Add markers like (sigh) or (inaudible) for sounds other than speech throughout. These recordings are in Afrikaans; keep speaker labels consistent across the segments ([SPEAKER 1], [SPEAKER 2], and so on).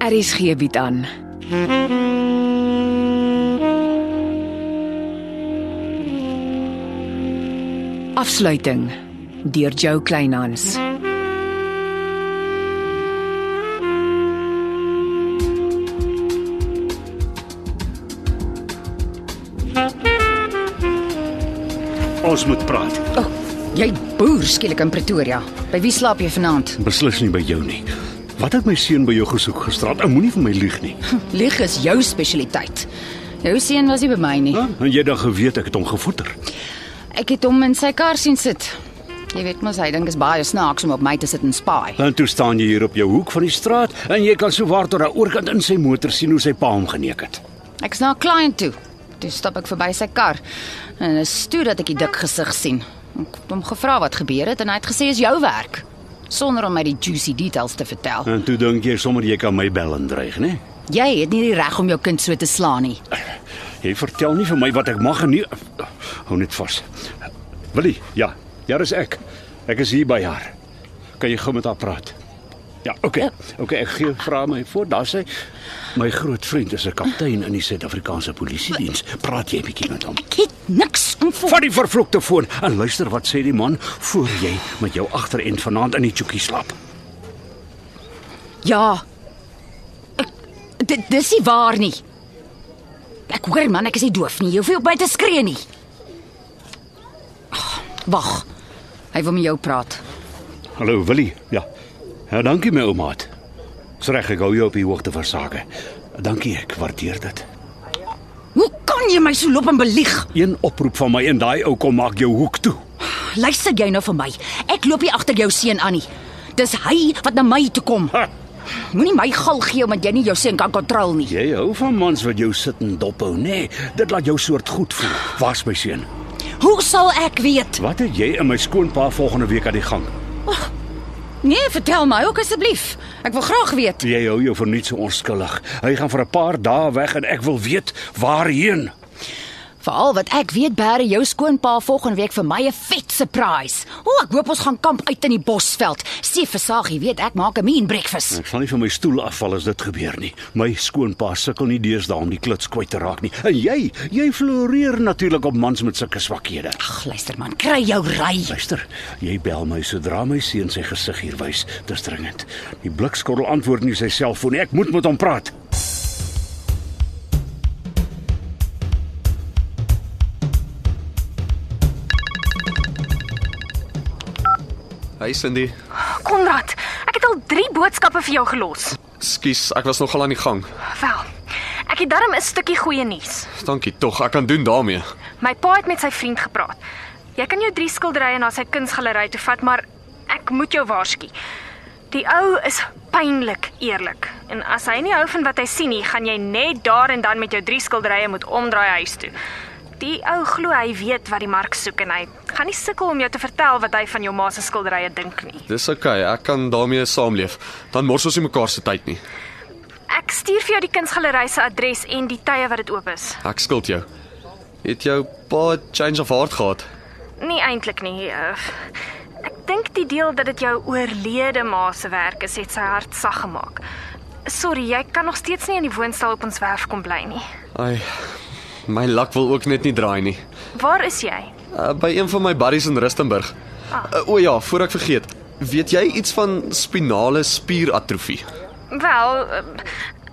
[SPEAKER 1] Aries gee Er bied aan. Afsluiting deur Jo Kleinhans.
[SPEAKER 2] Ons moet praat.
[SPEAKER 3] Oh, jy boer skielik in Pretoria. By wie slaap jy vanaand?
[SPEAKER 2] Beslis nie by jou nie. Wat het my seun by jou gesoek gisterand? Ou moenie vir my lieg nie.
[SPEAKER 3] Lieg is jou spesialiteit. Jou seun was nie by my nie.
[SPEAKER 2] Ah, en jy dan geweet ek het hom gevoeter.
[SPEAKER 3] Ek het hom in sy kar sien sit. Jy weet mos hy dink is baie snaaks om op my te sit en spaai.
[SPEAKER 2] Dan toe staan jy hier op jou hoek van die straat en jy kan sowaar tot aan oorkant in sy motor sien hoe sy pa hom geneek het.
[SPEAKER 3] Ek's na 'n kliënt toe. Toe stap ek verby sy kar en is toe dat ek die dik gesig sien. Ek het hom gevra wat gebeur het en hy het gesê is jou werk sonder om my die juicy details te vertel.
[SPEAKER 2] En toe dink jy sommer jy kan my bel en dreig, né?
[SPEAKER 3] Jy het nie die reg om jou kind so te slaan nie.
[SPEAKER 2] Jy vertel nie vir my wat ek mag en nie. Hou net vas. Willie, ja, ja, dis ek. Ek is hier by haar. Kan jy gou met haar praat? Ja, okay. Okay, ek gee vra my voor. Daar sê my groot vriend is 'n kaptein in die Suid-Afrikaanse Polisiediens. Praat jy 'n bietjie met hom?
[SPEAKER 3] Ek het niks om voor
[SPEAKER 2] Vat die vervloekte foon en luister wat sê die man voor jy met jou agterend vanaand in die chokkie slaap.
[SPEAKER 3] Ja. Ek, dit dis nie waar nie. Ek hoor man, ek is nie doof nie. Jy hoef nie op my te skree nie. Ag, Wag. Hy wil met jou praat.
[SPEAKER 2] Hallo Willie. Ja. Ja, dankie my ouma. Dis reg ek hou jou op die hoogte van sake. Dankie, ek waardeer dit.
[SPEAKER 3] Hoe kan jy my so lop en belieg?
[SPEAKER 2] Een oproep van my en daai ou kom maak jou hoek toe.
[SPEAKER 3] Luister jy nou vir my? Ek loop hier agter jou seun aan nie. Dis hy wat na my toe kom.
[SPEAKER 2] Ha,
[SPEAKER 3] Moenie my gal gee omdat jy nie jou seun kan kontrol nie.
[SPEAKER 2] jy hou van mans wat jou sit en dophou, nê? Nee, dit laat jou soort goed voel. Waar's my seun?
[SPEAKER 3] Hoe sal ek weet?
[SPEAKER 2] Wat het jy en my skoonpa volgende week aan die gang?
[SPEAKER 3] Nee, vertel my ook asseblief. Ek wil graag weet.
[SPEAKER 2] Jy hou jou vir niks so onskuldig. Hy gaan vir 'n paar dae weg en ek wil weet waarheen.
[SPEAKER 3] Veral wat ek weet bære jou skoonpa volgende week vir my 'n vet surprise. O, ek hoop ons gaan kamp uit in die bosveld. Sê vir Sagie, weet ek maak 'n mean breakfast.
[SPEAKER 2] Ek sal nie van my stoel afval as dit gebeur nie. My skoonpa sukkel nie deesdae om die klits kwyt te raak nie. En jy, jy floreer natuurlik op mans met sulke swakhede.
[SPEAKER 3] Ag, luister man, kry jou ry.
[SPEAKER 2] Luister, jy bel my sodra my seun sy gesig hier wys. Dis dringend. Die blikskorrel antwoord nie sy selfoon nie. Ek moet met hom praat.
[SPEAKER 4] Hey Cindy.
[SPEAKER 5] Konrad, ek het al 3 boodskappe vir jou gelos.
[SPEAKER 4] Skus, ek was nogal aan die gang.
[SPEAKER 5] Wel, ek het darm 'n stukkie goeie nuus.
[SPEAKER 4] Dankie tog, ek kan doen daarmee.
[SPEAKER 5] My pa het met sy vriend gepraat. Jy kan jou 3 skilderye na sy kunsgalery toe vat, maar ek moet jou waarsku. Die ou is pynlik eerlik. En as hy nie hou van wat hy sien nie, gaan jy net daar en dan met jou 3 skilderye moet omdraai huis toe. Die ou glo hy weet wat die mark soek en hy gaan nie sukkel om jou te vertel wat hy van jou ma se skilderye dink nie.
[SPEAKER 4] Dis oukei, okay, ek kan daarmee saamleef. Dan mors ons nie mekaar se tyd nie.
[SPEAKER 5] Ek stuur vir jou die kunsgalery se adres en die tye wat dit oop is.
[SPEAKER 4] Ek skuld jou. Het jou pa change of heart gehad?
[SPEAKER 5] Nee eintlik nie. eh, Ek dink die deel dat dit jou oorlede ma se werk is, het sy hart sag gemaak. Sorry, jy kan nog steeds nie in die woonstel op ons werf kom bly nie.
[SPEAKER 4] Ai. My lak wil ook net nie draai nie.
[SPEAKER 5] Waar is jy?
[SPEAKER 4] Uh, by een van my buddies in Rustenburg. Uh, o ja, voor ek vergeet. Weet jy iets van spinale spieratrofie?
[SPEAKER 5] Wel, eh,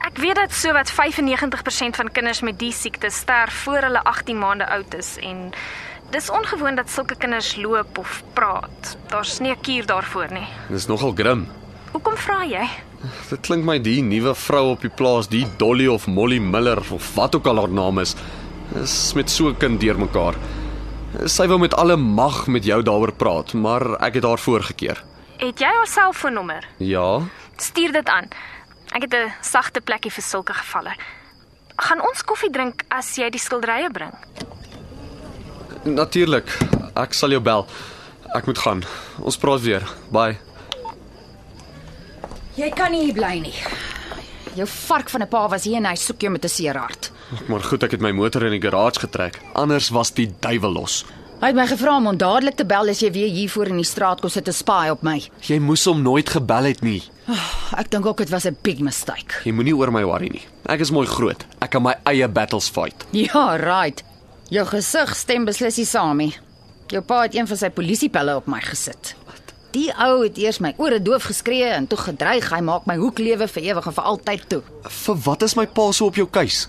[SPEAKER 5] ek weet dat sowat 95% van kinders met die siekte sterf voor hulle 18 maande oud is en dis ongewoon dat sulke kinders loop of praat. Daar's nie 'n kuur daarvoor nie.
[SPEAKER 4] Dis nogal grim.
[SPEAKER 5] Hoekom vra jy?
[SPEAKER 4] Dit klink my die nuwe vrou op die plaas, die Dolly of Molly Miller of wat ook al haar naam is, is met so 'n kind deurmekaar. Sy wou met alle mag met jou daaroor praat, maar ek het haar voorgekeer.
[SPEAKER 5] Het jy haar selfoonnommer?
[SPEAKER 4] Ja,
[SPEAKER 5] Stuur dit aan. Ek het 'n sagte plekkie vir sulke gevalle. Gaan ons koffie drink as jy die skilderye bring?
[SPEAKER 4] natuurlik. Ek sal jou bel. Ek moet gaan. Ons praat weer. Bye.
[SPEAKER 3] Jy kan nie hier bly nie. Jou vark van 'n pa was hier en hy soek jou met 'n seerhart.
[SPEAKER 4] Maar goed, ek het my motor in die garage getrek. Anders was die duiwel los.
[SPEAKER 3] Hy het my gevra om hom dadelik te bel as jy weer hier voor in die straat kom sit te spy op my.
[SPEAKER 4] Jy moes hom nooit gebel het nie.
[SPEAKER 3] Ek dink ook dit was 'n big mistake. (laughs)
[SPEAKER 4] Jy moenie oor my worry nie. Ek is mooi groot. Ek kan my eie battles fight.
[SPEAKER 3] Ja, right. Jou gesig stem beslis nie saam nie. Jou pa het een van sy polisiepelle op my gesit. Die ou het eers my ore doof geskree en toe gedreig hy maak my hoek lewe vir ewig en vir altyd toe.
[SPEAKER 4] Vir wat is my pa so op jou keus?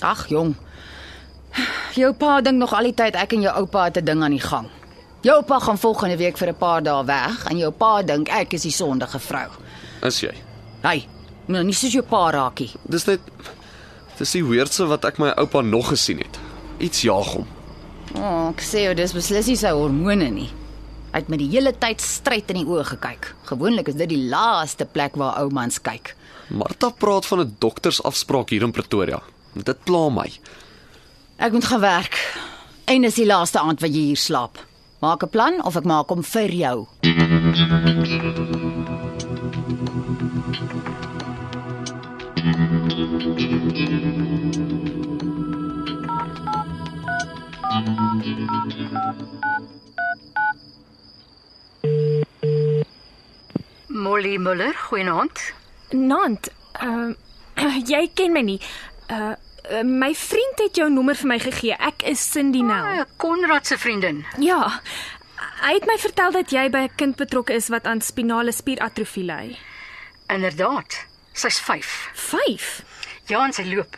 [SPEAKER 3] Ag jong. (sighs) Jou pa dink nog al die tyd ek en jou oupa het 'n ding aan die gang. Jou oupa gaan volgende week vir 'n paar dae weg en jou pa dink ek is die sondige vrou.
[SPEAKER 4] Is jy?
[SPEAKER 3] Hy, nou nie soos jou pa raakie.
[SPEAKER 4] Dis net dis die weirdste wat ek my oupa nog gesien het. Iets jaag hom.
[SPEAKER 3] O, oh, ek sê jou dis beslis nie sy hormone nie. Hy het my die hele tyd stryd in die oë gekyk. Gewoonlik is dit die laaste plek waar ou mans kyk.
[SPEAKER 4] Martha praat van 'n doktersafspraak hier in Pretoria. Dit pla my.
[SPEAKER 3] Ek moet gaan werk. En dis die laaste aand wat jy hier slaap. Maak 'n plan of ek maak hom vir jou.
[SPEAKER 6] Molly Muller, goeienaand.
[SPEAKER 5] Nant, ehm (clears throat) jy ken my nie. Uh, uh my vriend het jou nommer vir my gegee. Ek is Cindy nou.
[SPEAKER 6] Eh, Konrad se vriendin.
[SPEAKER 5] Ja. Hy het my vertel dat jy by 'n kind betrokke is wat aan spinale spieratrofie ly.
[SPEAKER 6] Inderdaad. Sy's 5.
[SPEAKER 5] 5.
[SPEAKER 6] Ja, en sy loop.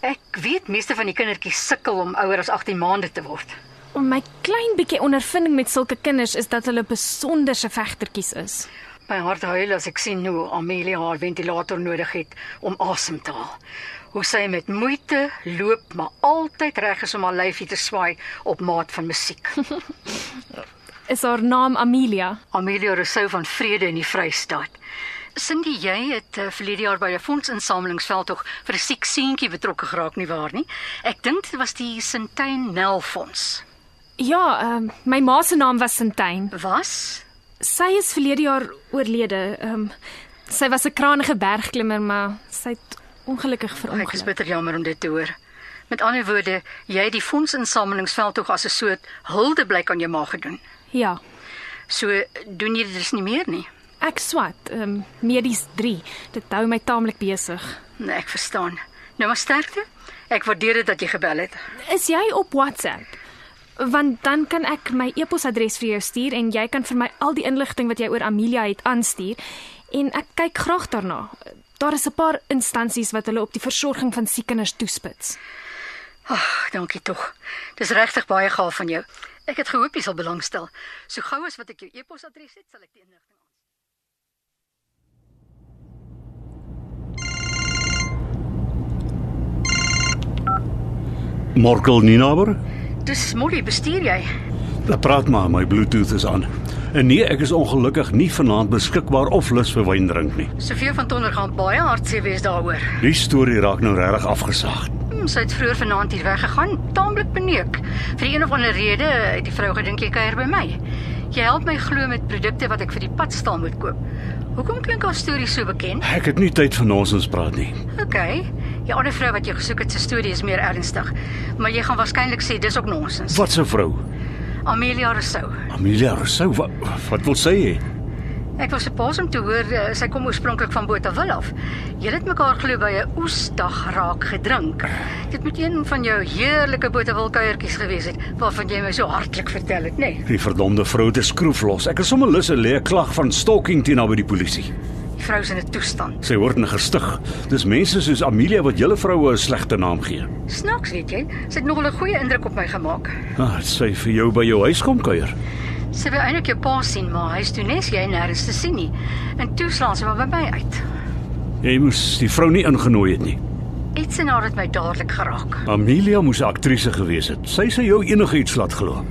[SPEAKER 6] Ek weet meeste van die kindertjies sukkel om ouer as 18 maande te word.
[SPEAKER 5] Om my klein bietjie ondervinding met sulke kinders is dat hulle besonderse vegtertjies is.
[SPEAKER 6] My hart huil as ek sien hoe Amelia haar ventilator nodig het om asem te haal. Hoe sy met moeite loop, maar altyd reg is om haar lyfie te swaai op maat van musiek.
[SPEAKER 5] Is haar naam Amelia?
[SPEAKER 6] Amelia Rousseau van Vrede in die Vrystaat. Cindy, jy het uh, verlede jaar by 'n fondsinsamelingsveldtog vir 'n siek seentjie betrokke geraak nie waar nie? Ek dink dit was die Sintyn Nel Fonds.
[SPEAKER 5] Ja, ehm my ma se naam was Sintyn.
[SPEAKER 6] Was?
[SPEAKER 5] Sy is verlede jaar oorlede. Ehm sy was 'n kranige bergklimmer, maar sy het ongelukkig
[SPEAKER 6] Ek is
[SPEAKER 5] verongeluk.
[SPEAKER 6] bitter jammer om dit te hoor. Met ander woorde, jy het die fondsinsamelingsveldtog as 'n soort huldeblyk aan jou ma gedoen.
[SPEAKER 5] Ja.
[SPEAKER 6] So doen jy dit dus nie meer nie.
[SPEAKER 5] Ek swat, ehm medies 3. Dit hou my taamlik besig.
[SPEAKER 6] Nee, ek verstaan. Nou maar sterkte. Ek waardeer dit dat jy gebel het.
[SPEAKER 5] Is jy op WhatsApp? Want dan kan ek my e-posadres vir jou stuur en jy kan vir my al die inligting wat jy oor Amelia het aanstuur en ek kyk graag daarna. Daar is 'n paar instansies wat hulle op die versorging van siek kinders toespits.
[SPEAKER 6] Ag, dankie tog. Dis regtig baie gaaf van jou. Ek het gehoop jy sal belangstel. So gou as wat ek jou e-posadres het, sal ek die inligting
[SPEAKER 2] Morkel Ninaber?
[SPEAKER 6] Dis Molly, bestuur jy?
[SPEAKER 2] Ek praat maar, my Bluetooth is aan. En nee, ek is ongelukkig nie vanaand beskikbaar of lus vir wyn drink nie.
[SPEAKER 6] Sofie van Tonder gaan baie hartseer wees daaroor.
[SPEAKER 2] Die storie raak nou regtig afgesaag.
[SPEAKER 6] Hm, sy het vroeër vanaand hier weggegaan, taamlik beneuk. Vir een of ander rede het die vrou gedink jy kuier by my. Jy help my glo met produkte wat ek vir die padstal moet koop. Hoekom klink haar storie so bekend?
[SPEAKER 2] Ek het nie tyd vir nonsens praat nie.
[SPEAKER 6] OK. Die ander vrou wat jy gesoek het se storie is meer ernstig, maar jy gaan waarskynlik sê dis ook nonsens.
[SPEAKER 2] Wat 'n vrou.
[SPEAKER 6] Amelia Rousseau.
[SPEAKER 2] Amelia Rousseau, wat, wat wil sy hê?
[SPEAKER 6] Ek was verbaas om te hoor eh, sy kom oorspronklik van Botawil af. Julle het mekaar glo by 'n oesdag raak gedrink. Dit moet een van jou heerlike Botawil kuiertjies gewees het waarvan jy my so hartlik vertel het, nê? Nee.
[SPEAKER 2] Die verdomde vrou te skroef los. Ek is sommer lus 'n leë klag van stalking teen haar by die polisie.
[SPEAKER 6] Die vrou se in 'n toestand.
[SPEAKER 2] Sy word ingestig. Dis mense soos Amelia wat julle vroue 'n slegte naam gee.
[SPEAKER 6] Snaaks, weet jy, sy het nogal 'n goeie indruk op my gemaak.
[SPEAKER 2] Ah, sy vir jou by jou huis kom kuier.
[SPEAKER 6] Sy wou eintlik jou pa sien, maar hy's toe nes jy nêrens te sien nie. En toe slaan sy maar by my uit.
[SPEAKER 2] Jy moes die vrou nie ingenooi het nie.
[SPEAKER 6] Iets en haar het my dadelik geraak.
[SPEAKER 2] Amelia moes 'n aktrise gewees het. Sy sê jou enigiets laat glo.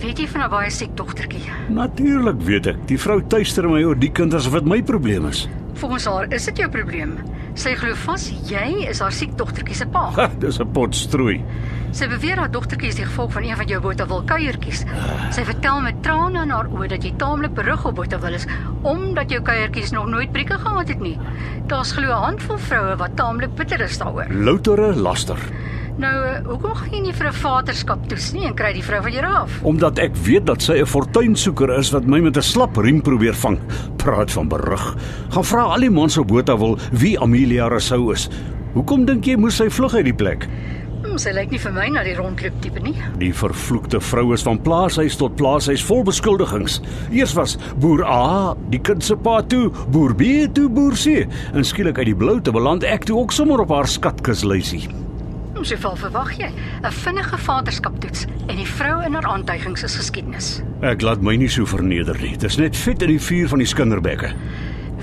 [SPEAKER 6] Weet jy van haar baie siek dogtertjie?
[SPEAKER 2] Natuurlik weet ek. Die vrou tuister my oor die kinders wat my probleem is.
[SPEAKER 6] Volgens haar is dit jou probleem. Sy glo vas jy is haar siek dogtertjie se pa.
[SPEAKER 2] Ha, dis 'n pot strooi.
[SPEAKER 6] Sy beweer haar dogtertjie is die gevolg van een van jou botawilkuiertjies. Sy vertel met trane in haar oë dat jy taamlik berug op botawil is omdat jou kuiertjies nog nooit prikke gehad het nie. Daar's glo 'n handvol vroue wat taamlik bitter is daaroor.
[SPEAKER 2] Loutere laster.
[SPEAKER 6] Nou, eh, hoekom gaan jy nie vir 'n vaderskap toets nie en kry die vrou van jou af?
[SPEAKER 2] Omdat ek weet dat sy 'n fortuinsoeker is wat my met 'n slap riem probeer vang. Praat van berug. Gaan vra al die mans op Botawil wie Amelia Rousseau is. Hoekom dink jy moes sy vlug uit die plek?
[SPEAKER 6] Hm, sy lyk nie vir my na die rondloop tipe nie.
[SPEAKER 2] Die vervloekte vrou is van plaashuis tot plaashuis vol beskuldigings. Eers was boer A die kind se pa toe, boer B toe boer C en skielik uit die blou te beland ek toe ook sommer op haar skatkislysie.
[SPEAKER 6] Hm, soveel verwag jy. 'n Vinnige vaderskap toets en die vrou in haar aantuigings is geskiedenis.
[SPEAKER 2] Ek laat my nie so verneder nie. Dis net vet in die vuur van die skinderbekke.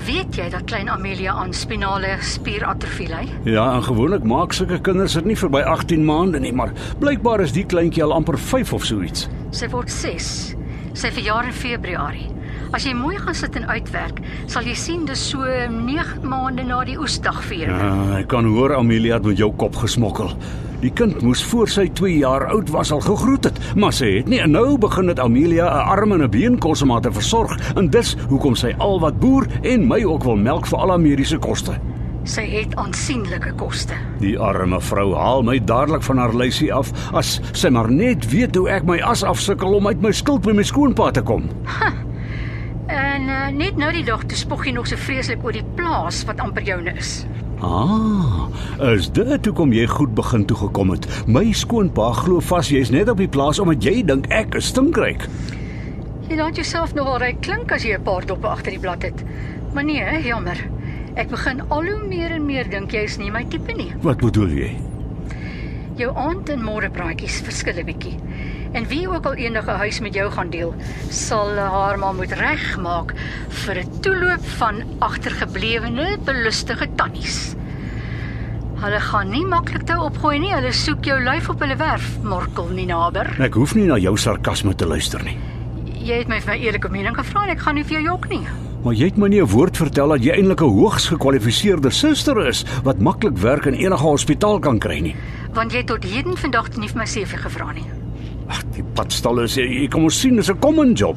[SPEAKER 6] Weet jy dat klein Amelia aan spinale spieratrofie ly?
[SPEAKER 2] Ja, en gewoonlik maak sulke kinders dit nie verby 18 maande nie, maar blykbaar is die kleintjie al amper 5 of so iets.
[SPEAKER 6] Sy word 6. Sy verjaar in Februarie. As jy mooi gaan sit en uitwerk, sal jy sien dis so 9 maande na die oesdagviering.
[SPEAKER 2] Uh, ek kan hoor Amelia het met jou kop gesmokkel. Die kind moes voor sy 2 jaar oud was al gegroet het, maar sy het nie en nou begin dit Amelia 'n arm en 'n been kos om haar te versorg en dis hoekom sy al wat boer en my ook wil melk vir al haar mediese koste.
[SPEAKER 6] Sy het aansienlike koste.
[SPEAKER 2] Die arme vrou haal my dadelik van haar lysie af as sy maar net weet hoe ek my as afsukkel om uit my skuld by my skoonpa te kom.
[SPEAKER 6] En uh, net nou die dag toe spog jy nog so vreeslik oor die plaas wat amper joune is.
[SPEAKER 2] Ah, is dit hoekom jy goed begin toe gekom het? My skoonpa glo vas jy's net op die plaas omdat jy dink ek is stinkryk.
[SPEAKER 6] Jy laat jouself nogal ryk klink as jy 'n paar doppe agter die blad het. Maar nee, hè, jammer. Ek begin al hoe meer en meer dink jy is nie my tipe nie.
[SPEAKER 2] Wat bedoel jy?
[SPEAKER 6] Jou aand en môre praatjies verskil 'n bietjie. En wie ook al enige huis met jou gaan deel, sal haar maar moet regmaak vir 'n toeloop van agtergeblewene belustige tannies. Hulle gaan nie maklik toe opgooi nie. Hulle soek jou lyf op hulle werf, morkel nie nader.
[SPEAKER 2] Ek hoef nie na jou sarkasme te luister nie.
[SPEAKER 6] Jy het my vir my eerlike mening gevra en ek gaan nie vir jou jok nie.
[SPEAKER 2] Maar jy het my nie 'n woord vertel dat jy eintlik 'n hoogs gekwalifiseerde suster is wat maklik werk in enige hospitaal kan kry nie.
[SPEAKER 6] Want jy het tot heden vandag nie vir my CV gevra nie.
[SPEAKER 2] Ag, die padstal is jy kom ons sien, dis 'n common job.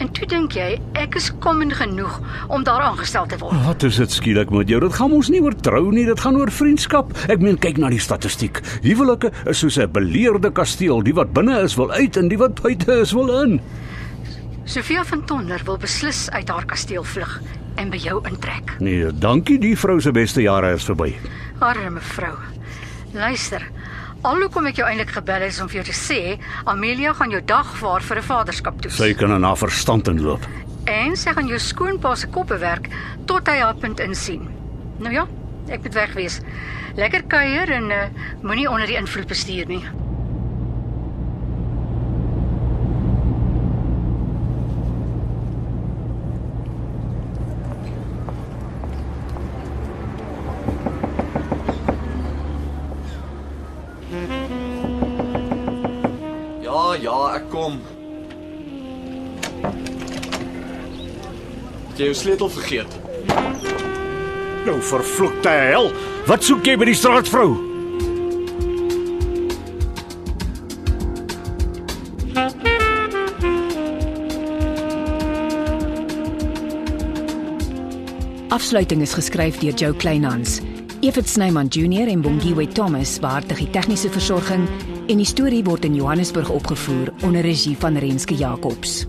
[SPEAKER 6] En toe dink jy ek is kommen genoeg om daar aangestel te word.
[SPEAKER 2] Wat is dit skielik met jou? Dit gaan ons nie oor trou nie, dit gaan oor vriendskap. Ek meen kyk na die statistiek. Huwelike is soos 'n beleerde kasteel, die wat binne is wil uit en die wat buite is wil in.
[SPEAKER 6] Sofia van Tonder wil beslis uit haar kasteel vlug en by jou intrek.
[SPEAKER 2] Nee, dankie, die vrou se beste jare is verby.
[SPEAKER 6] Arme vrou. Luister. Alhoekom ek jou eintlik gebel het is om vir jou te sê, Amelia gaan jou dagvaar vir 'n vaderskap toets.
[SPEAKER 2] Sy kan aan haar verstand inloop.
[SPEAKER 6] En sy gaan jou skoonpa se koppe werk tot hy haar punt insien. Nou ja, ek moet weg wees. Lekker kuier en uh, moenie onder die invloed bestuur nie.
[SPEAKER 4] Ja, ja, ek kom. Het jy jou sleutel vergeet?
[SPEAKER 2] Nou vervloekte hel, wat soek jy by die straatvrou?
[SPEAKER 1] Afsluiting is geskryf deur Jo Kleinhans. Evit Snyman Junior en Bongwe Thomas beheerdig die tegniese versorging en die storie word in Johannesburg opgevoer onder regie van Renske Jacobs.